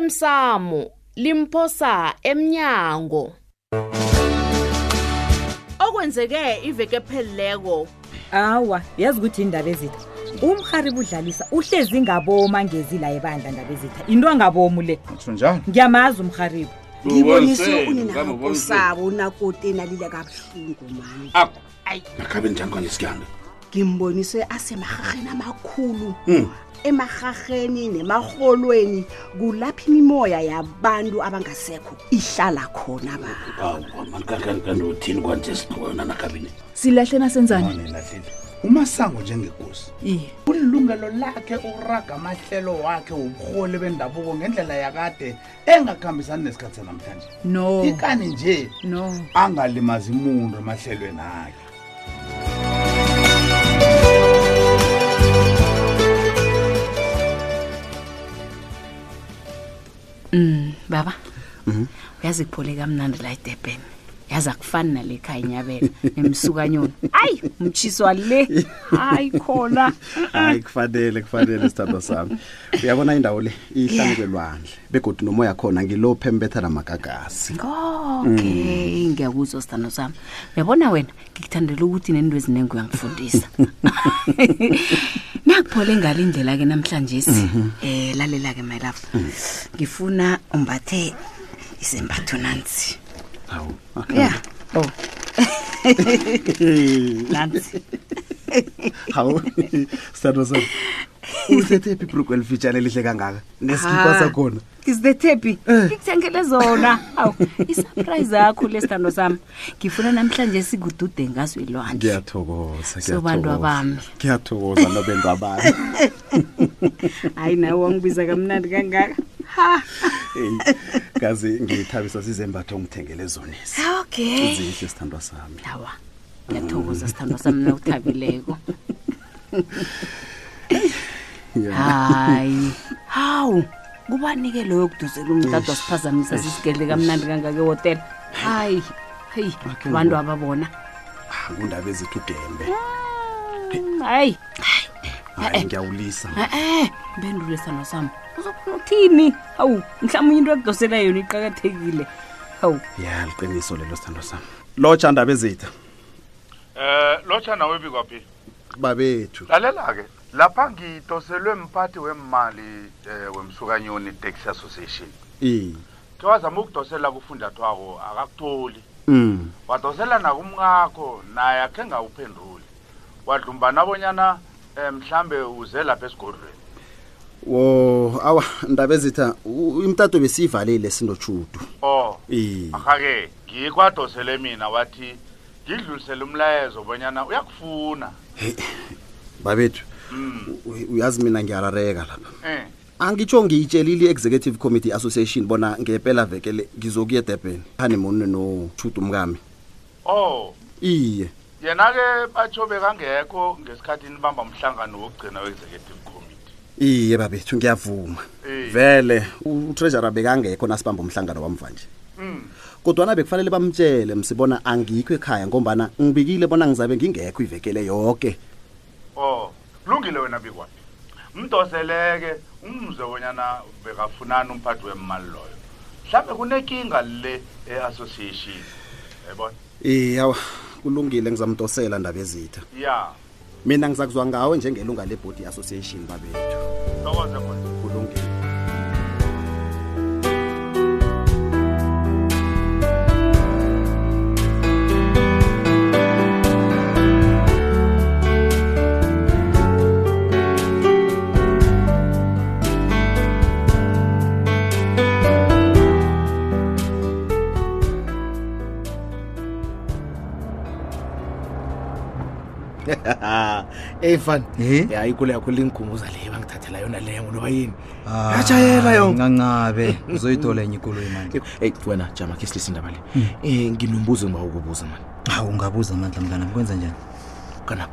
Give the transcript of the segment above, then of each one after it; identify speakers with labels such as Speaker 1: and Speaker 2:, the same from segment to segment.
Speaker 1: osemsamo limphosa emnyango okwenzeke iveke phelileko
Speaker 2: awa yazi ukuthi indaba ezitha umharibu udlalisa uhlezi ngaboma ngezila ebandla ndaba ezitha into angabomu le
Speaker 3: utsho njani
Speaker 2: ngiyamazi umharibu
Speaker 4: ngibonise uninakakosabo unakote nalile kabuhlungu mani
Speaker 3: nakhabe njani kanye sikihambe
Speaker 4: ngimbonise asemahaheni amakhulu emahaheni nemaholweni kulapha imimoya yabantu abangasekho ihlala khona bani
Speaker 3: awamanikanti uthini kwanje sikhona nakhabini
Speaker 5: silahle nasenzani
Speaker 6: nilahlile umasango njengegosi
Speaker 5: iye
Speaker 6: kulilungelo lakhe ukuraga amahlelo wakhe wobuholi bendabuko ngendlela yakade engakuhambisani nesikhathi sanamhlanje
Speaker 5: no
Speaker 6: ikani nje
Speaker 5: no
Speaker 6: angalimazi imuntu emahlelweni akhe
Speaker 7: baba uyazi kuphole kamnandi la edurban yazi akufani nale khaya inyabela nemsukanyoni hayi mtshiswa le hayi khona
Speaker 8: hayi kufanele kufanele sithando sami uyabona indawo le ihlangelwandle begodi nomoya khona ngilo phembetha namagagasi
Speaker 7: okay ngiyakuzwa sithando sami uyabona wena ngikuthandela ukuthi nento eziningi uyangifundisa nakuphole ngale indlela-ke namhlanje si
Speaker 4: Mhm.
Speaker 7: um lalela-ke my love ngifuna umbathe isembatho nansi
Speaker 8: hawu
Speaker 7: ya oh nansi
Speaker 8: hawu sithando sami uthethephi ibruku elifitshane lihle kangaka nesikipa sakhona
Speaker 7: isithephi ngikuthengele zona awu isurprise yakho lesithando sami ngifuna namhlanje sikudude ngazwelwandle
Speaker 8: ngiyathokoza
Speaker 7: Sobantu
Speaker 8: ngiyathokoza.
Speaker 7: abami.
Speaker 8: ngiyathokoza nobentu abami
Speaker 7: hayi nawe wangibiza kamnandi kangaka
Speaker 8: Eyi, kazi ngithabisa zizembatho ngithengele zonesi
Speaker 7: okay
Speaker 8: zihle sithandwa sami
Speaker 7: awa ngiyathokoza sithandwa sami nawuthabileko hayi hawu kubanike loyo kuduzela umdade wasiphazamisa sisigedle kamnandi kangaka ehotela hayi heyi
Speaker 8: Okay,
Speaker 7: abantu
Speaker 8: ngoba-
Speaker 7: ababona
Speaker 8: kundaba ezithi ugembe
Speaker 7: hayi
Speaker 8: hayi ngiyawulisa
Speaker 7: e-e mpendulo sithando sami uzofuna uthini hawu mhlawumbe into ekudosela yona iqakathekile hawu
Speaker 8: ya liqiniso lelo sithando sami lotsha ndaba ezitha
Speaker 9: Eh locha nawe bikwaphi?
Speaker 8: babethu
Speaker 9: Lalela ke. Lapha ngidoselwe mphathi wemali eh wemsukanyoni Tax Association.
Speaker 8: i
Speaker 9: Kewazama ukudosela kufundathwako akakutholi.
Speaker 8: mm
Speaker 9: Wadosela nakumngakho naye akhe ngawuphenduli. Wadlumba nabonyana eh mhlambe uze lapha esigodlweni.
Speaker 8: wo awa ndaba ezitha u- imtato besiyivalile Ee. sindotshudu
Speaker 9: Oh.
Speaker 8: i
Speaker 9: Akhage ngikwadosele mina wathi ngidlulisele umlayezo bonyana uyakufuna.
Speaker 8: babethu
Speaker 9: Mm.
Speaker 8: u- uyazi mina ngiyarareka lapha
Speaker 9: Eh.
Speaker 8: angitsho ngiyitshelile i-executive committee association bona ngempela vekele ngizokuya edurban hanimoni notshudu mkami
Speaker 9: Oh.
Speaker 8: iye
Speaker 9: yena ke batsho bekangekho ngesikhathi nibamba umhlangano wokugcina we-executive committee
Speaker 8: iye babethu ngiyavuma
Speaker 9: Eh.
Speaker 8: vele utreasurer bekangekho nasibamba umhlangano wamva nje
Speaker 9: mm.
Speaker 8: kodwana bekufanele bamtshele msibona angikho ekhaya ngombana ngibikile bona ngizabe ngingekho ivekele yonke
Speaker 9: oh kulungile wena bikwaphi mdoseleke umze bonyana bekafunani umphathi wemali loyo mhlawumbe kunenkinga le e-association yayibona
Speaker 8: iyawa Eh, kulungile ngizamdosela ndaba ezitha
Speaker 9: ya
Speaker 8: mina ngizakuzwa ngawe njengelunga lebhodi association babethu
Speaker 9: tokoze khona
Speaker 8: kulungile
Speaker 10: eyi fani
Speaker 3: Eh?
Speaker 10: ya ikolo yakho lingikhumbuza leyo bangithathela yona leyo ngonoba yini Yatjhayela
Speaker 3: yatshayela
Speaker 10: yo.
Speaker 3: Ah, ncancabe uzoyidola enye ikoloyi manje
Speaker 10: eyi wena jama khe silise indaba le um nginombuzo ngiba ukubuza mani
Speaker 3: hawu ungabuza amandla mntanam kwenza njani
Speaker 10: kanabo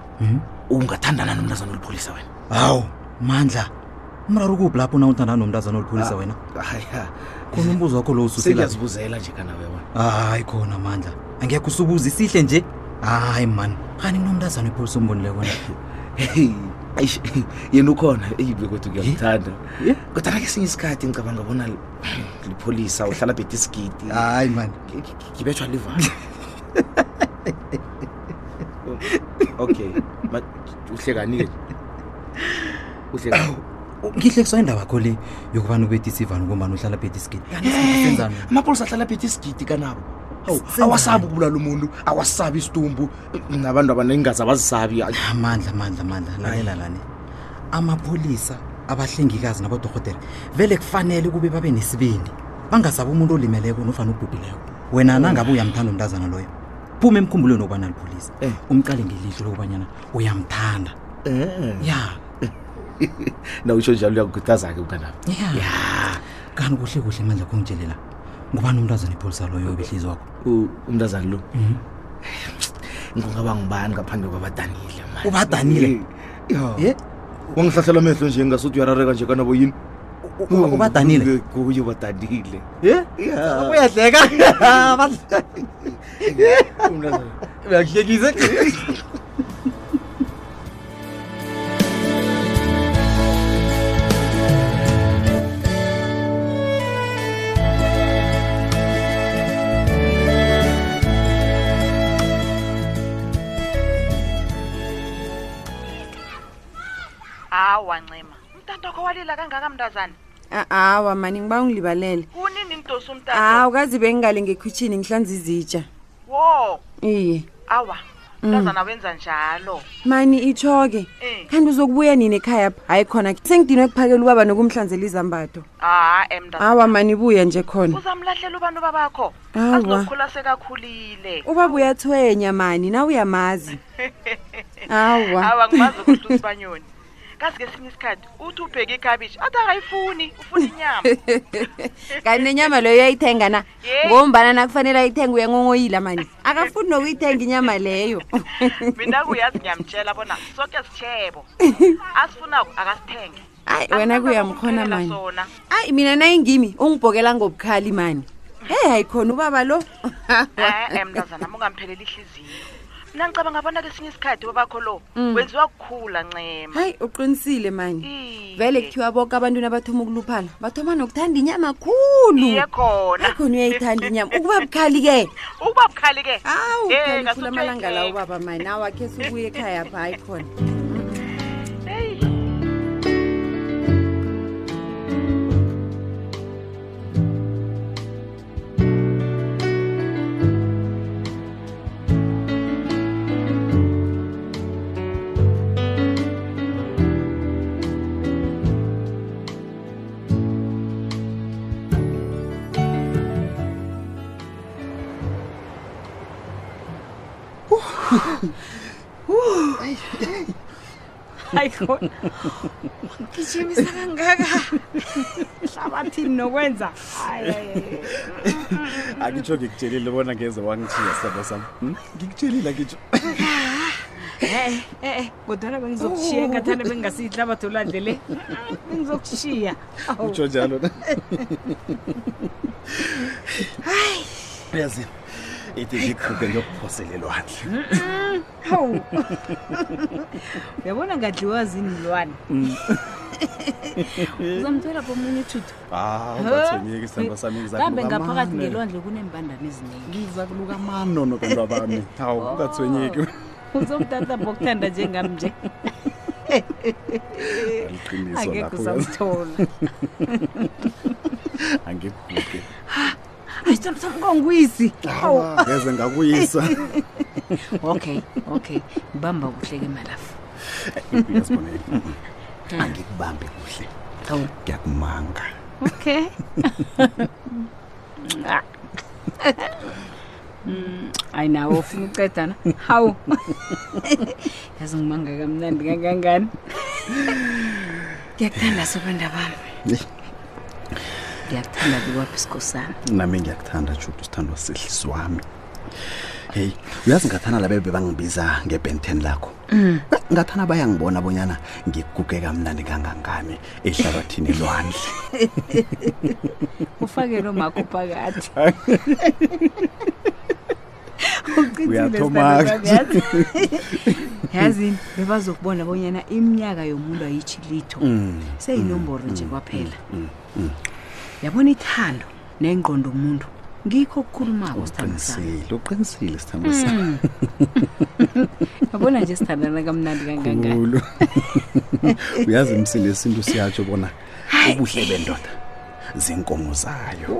Speaker 10: ungathandana nomntazana olipholisa wena
Speaker 3: hawu mandla umraro ukuphi lapho na uthandana nomntazana olipholisa
Speaker 10: Ah.
Speaker 3: wena
Speaker 10: haya
Speaker 3: khona umbuzo wakho lo ususela
Speaker 10: sengiyazibuzela nje kanawe
Speaker 3: Eh.
Speaker 10: wena
Speaker 3: hayi khona mandla angekho usubuza isihle nje hayi mani hani kunomntazana ipholisa ombonile kona
Speaker 10: eish yena ukhona eyi bekodwa ngiyamthanda kodwa nakesinye isikhathi ngicabanga bona li- lipholisa uhlala bhede isigidi
Speaker 3: hayi mani
Speaker 10: Ngi- ngi- ngibetshwa livala okay ma- uhlekani-ke uhlekani
Speaker 3: ngihle kusa indaba kho le yokubana ubetisa ivani ngombani uhlala bhedi isigidi Kanti isigidi senzani wena?
Speaker 10: amapholisa Eh, ahlala phethe isigidi kanabo Awu,
Speaker 3: Senzani?
Speaker 10: awasabi ukubulala umuntu awasabi isitumbu nabantu abaningazi abazisabi Ay,
Speaker 3: amandla amandla amandla lalela lani amapholisa abahlengikazi nabodorhotela vele kufanele kube babe nesibindi bangasabi umuntu olimeleko nofana ubhubhileko
Speaker 10: Oh.
Speaker 3: wena nangabe uyamthanda umntazana loyo phuma emkhumbulweni wokubana lipholisa
Speaker 10: Eh.
Speaker 3: umqale ngelihlo lokubanyana uyamthanda
Speaker 10: Eh.
Speaker 3: ya
Speaker 10: na utsho njalo uyakukhuthaza-ke kanabo
Speaker 3: ya kanti kuhle kuhle mandla kongitshelela ngubani umntazana ipholisa loyo
Speaker 10: Oh.
Speaker 3: obehlezi wakho
Speaker 10: umntazana lo ngungaba ngubani ngaphandle kwabadanile man.
Speaker 3: ubadanile
Speaker 10: eh, Ya.
Speaker 3: ye
Speaker 10: wangihlahlela amehlo nje ngasuthi uyarareka nje kanabo yini
Speaker 3: u- ubadanile?
Speaker 10: Kuye- kuye badanile
Speaker 3: uyadleka
Speaker 10: umntazana
Speaker 3: uyakuhlekise
Speaker 9: hawa ncima umntanto wakho walila kangaka mntazana
Speaker 11: awa mani ngiba ungilibalele
Speaker 9: kunini ngidosa umntanto
Speaker 11: hawu kazi bengingale ngekhutshini ngihlanza izitsha
Speaker 9: wo
Speaker 11: iye
Speaker 9: awa mntazana wenza njalo
Speaker 11: mani itsho-ke
Speaker 9: Eh.
Speaker 11: kanti uzokubuya nini ekhaya pha hayi khona sengidinwe kuphakela ubaba nokumhlanzela izambatho
Speaker 9: ha emntazana
Speaker 11: awa mani buya nje khona
Speaker 9: uzamlahlela ubantu babakho
Speaker 11: Awa.
Speaker 9: azokhula sekakhulile
Speaker 11: ubaba uyathwenya mani nawe uyamazi awa
Speaker 9: awa ngimazi ukuthi usibanyoni kazi kesinye isikhathi uthi ubheke ikhabishi athi angayifuni ufuna inyama
Speaker 11: kanti nenyama leyo uyayithenga na
Speaker 9: Yey.
Speaker 11: ngombana nakufanele ayithenga uyangongoyila mani akafuni nokuyithenga inyama leyo
Speaker 9: mina kuyazi ngiyamtshela bona soke sitshebo asifunako akasithenge
Speaker 11: ayi Eh, wena kuyamkhona
Speaker 9: Akusazokuphelela
Speaker 11: mani
Speaker 9: sona
Speaker 11: ayi mina nayingimi ungibhokela ngobukhali mani hey hayi khona ubaba lo
Speaker 9: e-e mntazana mungampheleli ihliziyo mna ngicabanga bona kesinye isikhathi babakho lo
Speaker 11: Mm.
Speaker 9: wenziwa kukhula ncema
Speaker 11: hayi uqinisile mani
Speaker 9: Iye.
Speaker 11: vele kuthiwa boke abantwini abathoma ukuluphala bathoma nokuthanda inyama khulu
Speaker 9: iye khona
Speaker 11: akhona uyayithanda inyama ukuba bukhali-ke
Speaker 9: ukuba bukhali-ke
Speaker 11: awu
Speaker 9: Eh,
Speaker 11: bukhali khulu
Speaker 9: ngasutjho
Speaker 11: amalanga la
Speaker 9: ikhekhe.
Speaker 11: ubaba mani awakhe subuye ekhaya pha hayi khona
Speaker 9: Hey.
Speaker 11: hayi khona gijimisa kangaka hlabathini nokwenza
Speaker 8: akitsho ngikutshelile bona ngeze wangithiya sithandwa sam Hmm? ngikutshelile akitsho
Speaker 11: e-e kodwana
Speaker 7: Oh.
Speaker 11: bengizokushiya engathane bengingasiyihlabathi olwandle le bengizokushiya
Speaker 10: Oh.
Speaker 8: utsho njalo na yazi ithi ngikuke ngiyokuphoselelwandle
Speaker 10: Hmm?
Speaker 11: hawu uyabona ngadliwa zinilwane
Speaker 7: uzamthwela pomunye uthuthu
Speaker 8: hawu Ah, ungathonyeki sithandwa sami
Speaker 7: kambe ngaphakathi
Speaker 8: ngizakulukamaningizakulukamaninona
Speaker 7: ngelwandle kunembandane eziningi
Speaker 8: bantwa bami hawu
Speaker 11: Oh.
Speaker 8: ungathonyeki
Speaker 7: uzomtata bokuthanda njengam nje
Speaker 8: aliqiniso
Speaker 7: akekho
Speaker 8: lapho yazi.
Speaker 7: uzamthola
Speaker 8: angikuke
Speaker 11: ayisamsamkonkwisi
Speaker 8: ngeze ngakuyisa
Speaker 7: okay okay ngibamba kuhle-ke malafu
Speaker 8: yazibonele angikubambi kuhle
Speaker 7: hawu
Speaker 8: ngiyakumanga
Speaker 7: okay ayi nawo ufuna ucedana hawu yazi ngimanga kamnandi kangangani ngiyakuthanda sobenda bami ngiyakuthanda bikwaphi sikhosana
Speaker 8: nami ngiyakuthanda judu sithandwa sihlisi wami heyi uyazi ngathana labe bebangibiza ngebenten lakho
Speaker 11: Mm.
Speaker 8: ngathana bayangibona bonyana ngiguge kamnandi kangangani ehlabathini elwandle
Speaker 7: ufake nomakho phakathi
Speaker 8: Uyathoma-ke.
Speaker 7: uyathoma
Speaker 11: yazini bebazokubona bonyana iminyaka yomuntu ayitshi litho
Speaker 8: Mm,
Speaker 11: seyinomboro nje kwaphela
Speaker 8: Mm, mm.
Speaker 11: yabona ithando nengqondo umuntu ngikho okukhulumako sithando sami
Speaker 8: uqinisile uqinisile sithando sami
Speaker 11: Mm. yabona nje sithandana kamnandi kangangani
Speaker 8: Khulu. uyazi msile isintu siyatsho bona ubuhle bendoda zinkomo zayo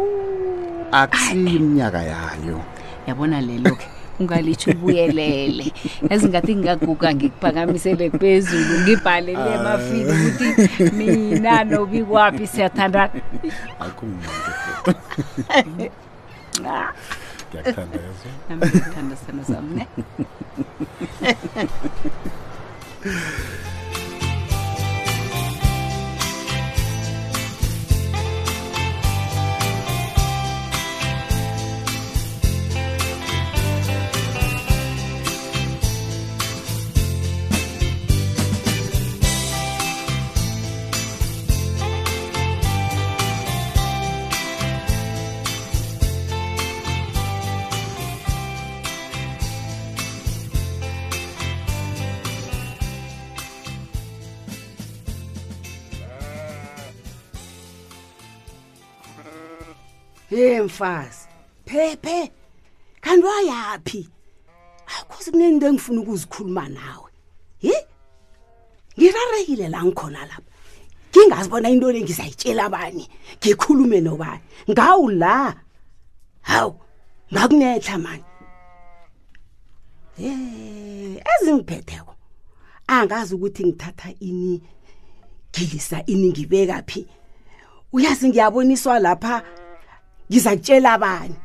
Speaker 8: akusiyo iminyaka yayo
Speaker 7: yabona lelo ke ungalitsho ubuyelele yazi ngathi ngingaguga ngikuphakamisele phezulu ngibhalele emafini ukuthi mina nobikwaphi siyathandana
Speaker 8: akumuntu ngiyakuthanda yezo
Speaker 7: Nami ngikuthanda sithando sami, ne?
Speaker 4: he mfazi phephe kanti wayaphi akhosi kunento engifuna ukuzikhuluma nawe hi ngirarekile la ngikhona lapha ngingazibona into le ngizayitshela bani ngikhulume nobani ngawu la hawu ngakunetha mani ye ezingiphetheko angazi ukuthi ngithatha ini ngilisa ini ngibeka phi uyazi ngiyaboniswa lapha ngiza kutshela abani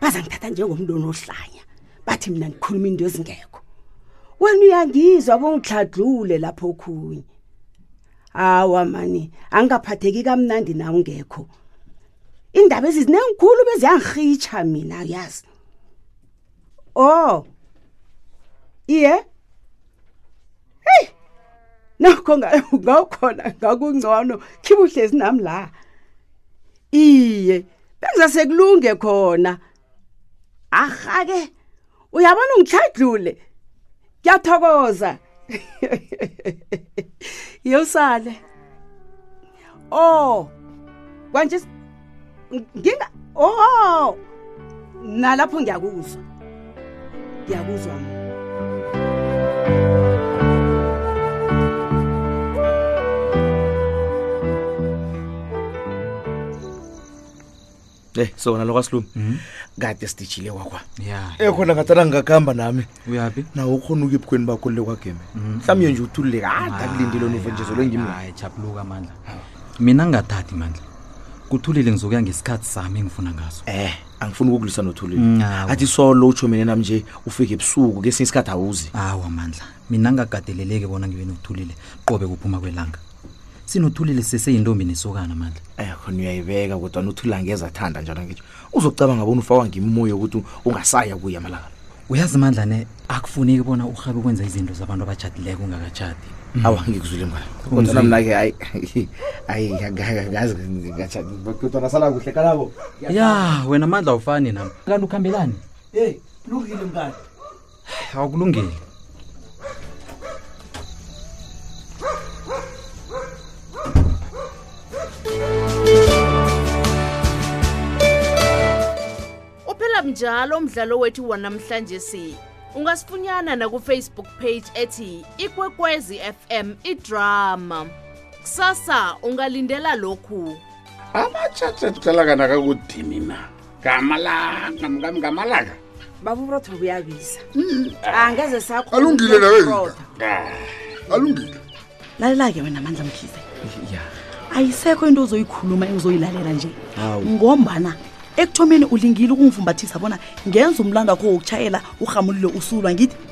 Speaker 4: bazangithatha njengomntu onohlanya bathi mina ngikhuluma into ezingekho wena uyangizwa bongihladlule lapho okhunye hawa mani angingaphatheki kamnandi na ungekho iindaba ezizinengikhulu beziyangirhitsha mina uyazi o iye heyi nokho nga- ngawukhona ngakungcono khibe uhlezi nami la iye bengizasekulunge khona ahake uyabona ungihlajlule ngiyathokoza yosale oh kwanje nginga oh nalapho ngiyakuzwa ngiyakuzwa mina
Speaker 10: Eh sona lokwasilumi kade sidijile kwakwa
Speaker 3: ya
Speaker 10: ekhona ngatsana ngingakahamba nami
Speaker 3: uyaphi
Speaker 10: nawe ukhona ukuya ebukhweni bakho le kwageme mhlawumbe nje uthulule kade akulindile nova nje zolo ngimla
Speaker 3: hayi jabuluka mandla mina ngingathathi mandla kuthulile ngizokuya ngesikhathi sami engifuna ngaso
Speaker 10: eh angifuni ukukulwisa nothulile
Speaker 3: Mm, awa.
Speaker 10: athi solo utsho mine nami nje ufike ebusuku kesinye isikhathi awuzi
Speaker 3: awa mandla mina ngingagadeleleki bona ngibe nokuthulile qobe kuphuma kwelanga sinothulile seseyintombi nesokana mandla
Speaker 10: eh khona uyayibeka kodwa nothulile angeze athanda njalo ngitsho uzokucabanga bona ufawa ngimoya ukuthi ungasaya kuye amalanga
Speaker 3: uyazi mandla ne akufuneki bona urhabe ukwenza izinto zabantu abajadileko ungakatshadi
Speaker 10: awa ngikuzwile mngani kodwana mna-ke hayi hayi ngazi kodwana sala kuhle kalabo
Speaker 3: ya wena mandla awufani nami kanti ukuhambelani
Speaker 10: eyi lungile mngani
Speaker 3: awukulungeli
Speaker 1: uphela njalo umdlalo wethu wanamhlanje si ungasifunyana na ku Facebook page ethi ikwekwezi fm idrama kusasa ungalindela lokhu
Speaker 9: amatshatshatu kalakana kakudini na ngamalanga mngami ngamalanga
Speaker 4: baba ubrotho buyabiza
Speaker 9: Mm.
Speaker 11: Ah,
Speaker 4: angeze sakho
Speaker 9: Alungile nawe, alungile
Speaker 12: lalela-ke wena amandla mkhize ayisekho into ozoyikhuluma engizoyilalela nje
Speaker 10: Hawu.
Speaker 12: ngombana ekuthomeni ulingile ukungivumbathisa bona ngenza umlando wakho wokutshayela urhamulile usulwa ngithi